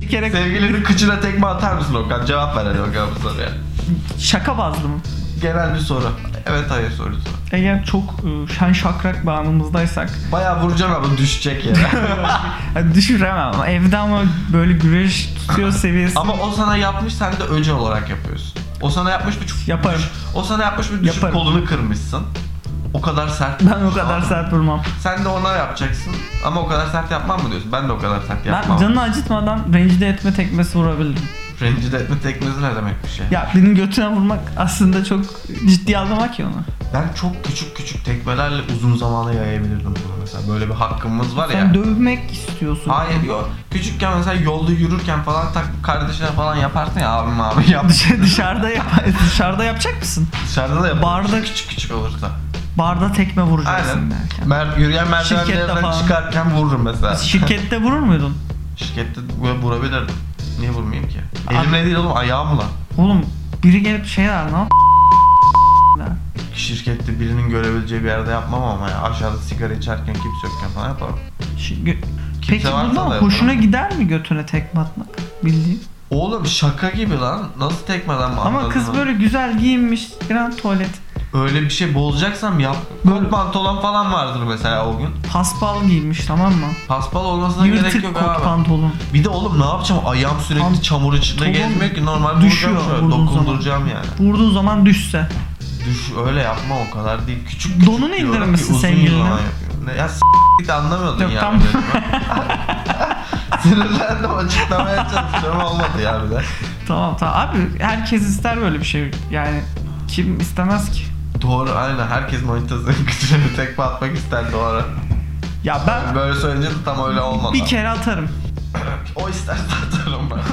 bir kere Sevgilinin kıçına tekme atar mısın Okan? Cevap ver hadi Okan bu soruya. şaka bazlı mı? Genel bir soru. Evet hayır sorusu. Eğer çok e, şen şakrak bağımımızdaysak Bayağı vuracaksın ama düşecek yere. yani düşüremem ama evde ama böyle güreş tutuyor seviyesi ama o sana yapmış sen de öcü olarak yapıyorsun. O sana yapmış bir çok Yaparım. düş- o sana yapmış bir düşüp Yaparım. kolunu kırmışsın. O kadar sert. ben o kadar sert vurmam. Sen de ona yapacaksın ama o kadar sert yapmam mı diyorsun? Ben de o kadar sert Ben yapmam. canını acıtmadan rencide etme tekmesi vurabilirim. Rencide etme teknesi ne demek bir şey? Ya benim götüne vurmak aslında çok ciddi almamak ki onu. Ben çok küçük küçük tekmelerle uzun zamana yayabilirdim bunu mesela. Böyle bir hakkımız var ya. Sen dövmek istiyorsun. Hayır yok. Küçükken mesela yolda yürürken falan tak kardeşine falan yaparsın ya abim abi yap. Dışarı- dışarıda yap dışarıda yapacak mısın? Dışarıda da yaparım. Barda- küçük küçük olursa. Barda tekme vuracaksın Aynen. derken. Mer yürüyen Şirkette merdivenlerden falan. çıkarken vururum mesela. Şirkette vurur muydun? Şirkette böyle vurabilirdim. Niye vurmayayım ki? Elimle değil oğlum ayağımla. Oğlum biri gelip şey der ne yap- der. Şirkette birinin görebileceği bir yerde yapmam ama ya. Aşağıda sigara içerken kimse yokken falan yaparım. Şi- gö- Peki varsa da bundan yaparım. hoşuna gider mi götüne tekme atmak? Bildiğin. Oğlum şaka gibi lan. Nasıl tekmeden mi Ama anladın kız lan? böyle güzel giyinmiş, giren tuvalet. Öyle bir şey bozacaksam yap. Böyle- Kot pantolon falan vardır mesela o gün. Paspal giymiş tamam mı? Paspal olmasına gerek Yırtık yok kot abi. pantolon. Bir de oğlum ne yapacağım? Ayağım sürekli Tam- çamur içinde Tamam. gezmiyor ki normal Düşüyor vuracağım şöyle vurduğun zaman. dokunduracağım yani. Vurduğu zaman düşse. Düş öyle yapma o kadar değil. Küçük küçük Donunu diyorum indirir ki misin uzun sevgiline? yıllar yapıyorum. Ne- Ya s*** git anlamıyordun Yok, yani. tam- dedim ben. Sinirlendim açıklamaya çalışıyorum olmadı ya bir de. Tamam tamam. Abi herkes ister böyle bir şey. Yani kim istemez ki? Doğru aynen herkes manitasının küçüğünü tekme atmak ister doğru. Ya ben Böyle söyleyince de tam öyle olmadı. bir kere atarım. O isterse atarım ben.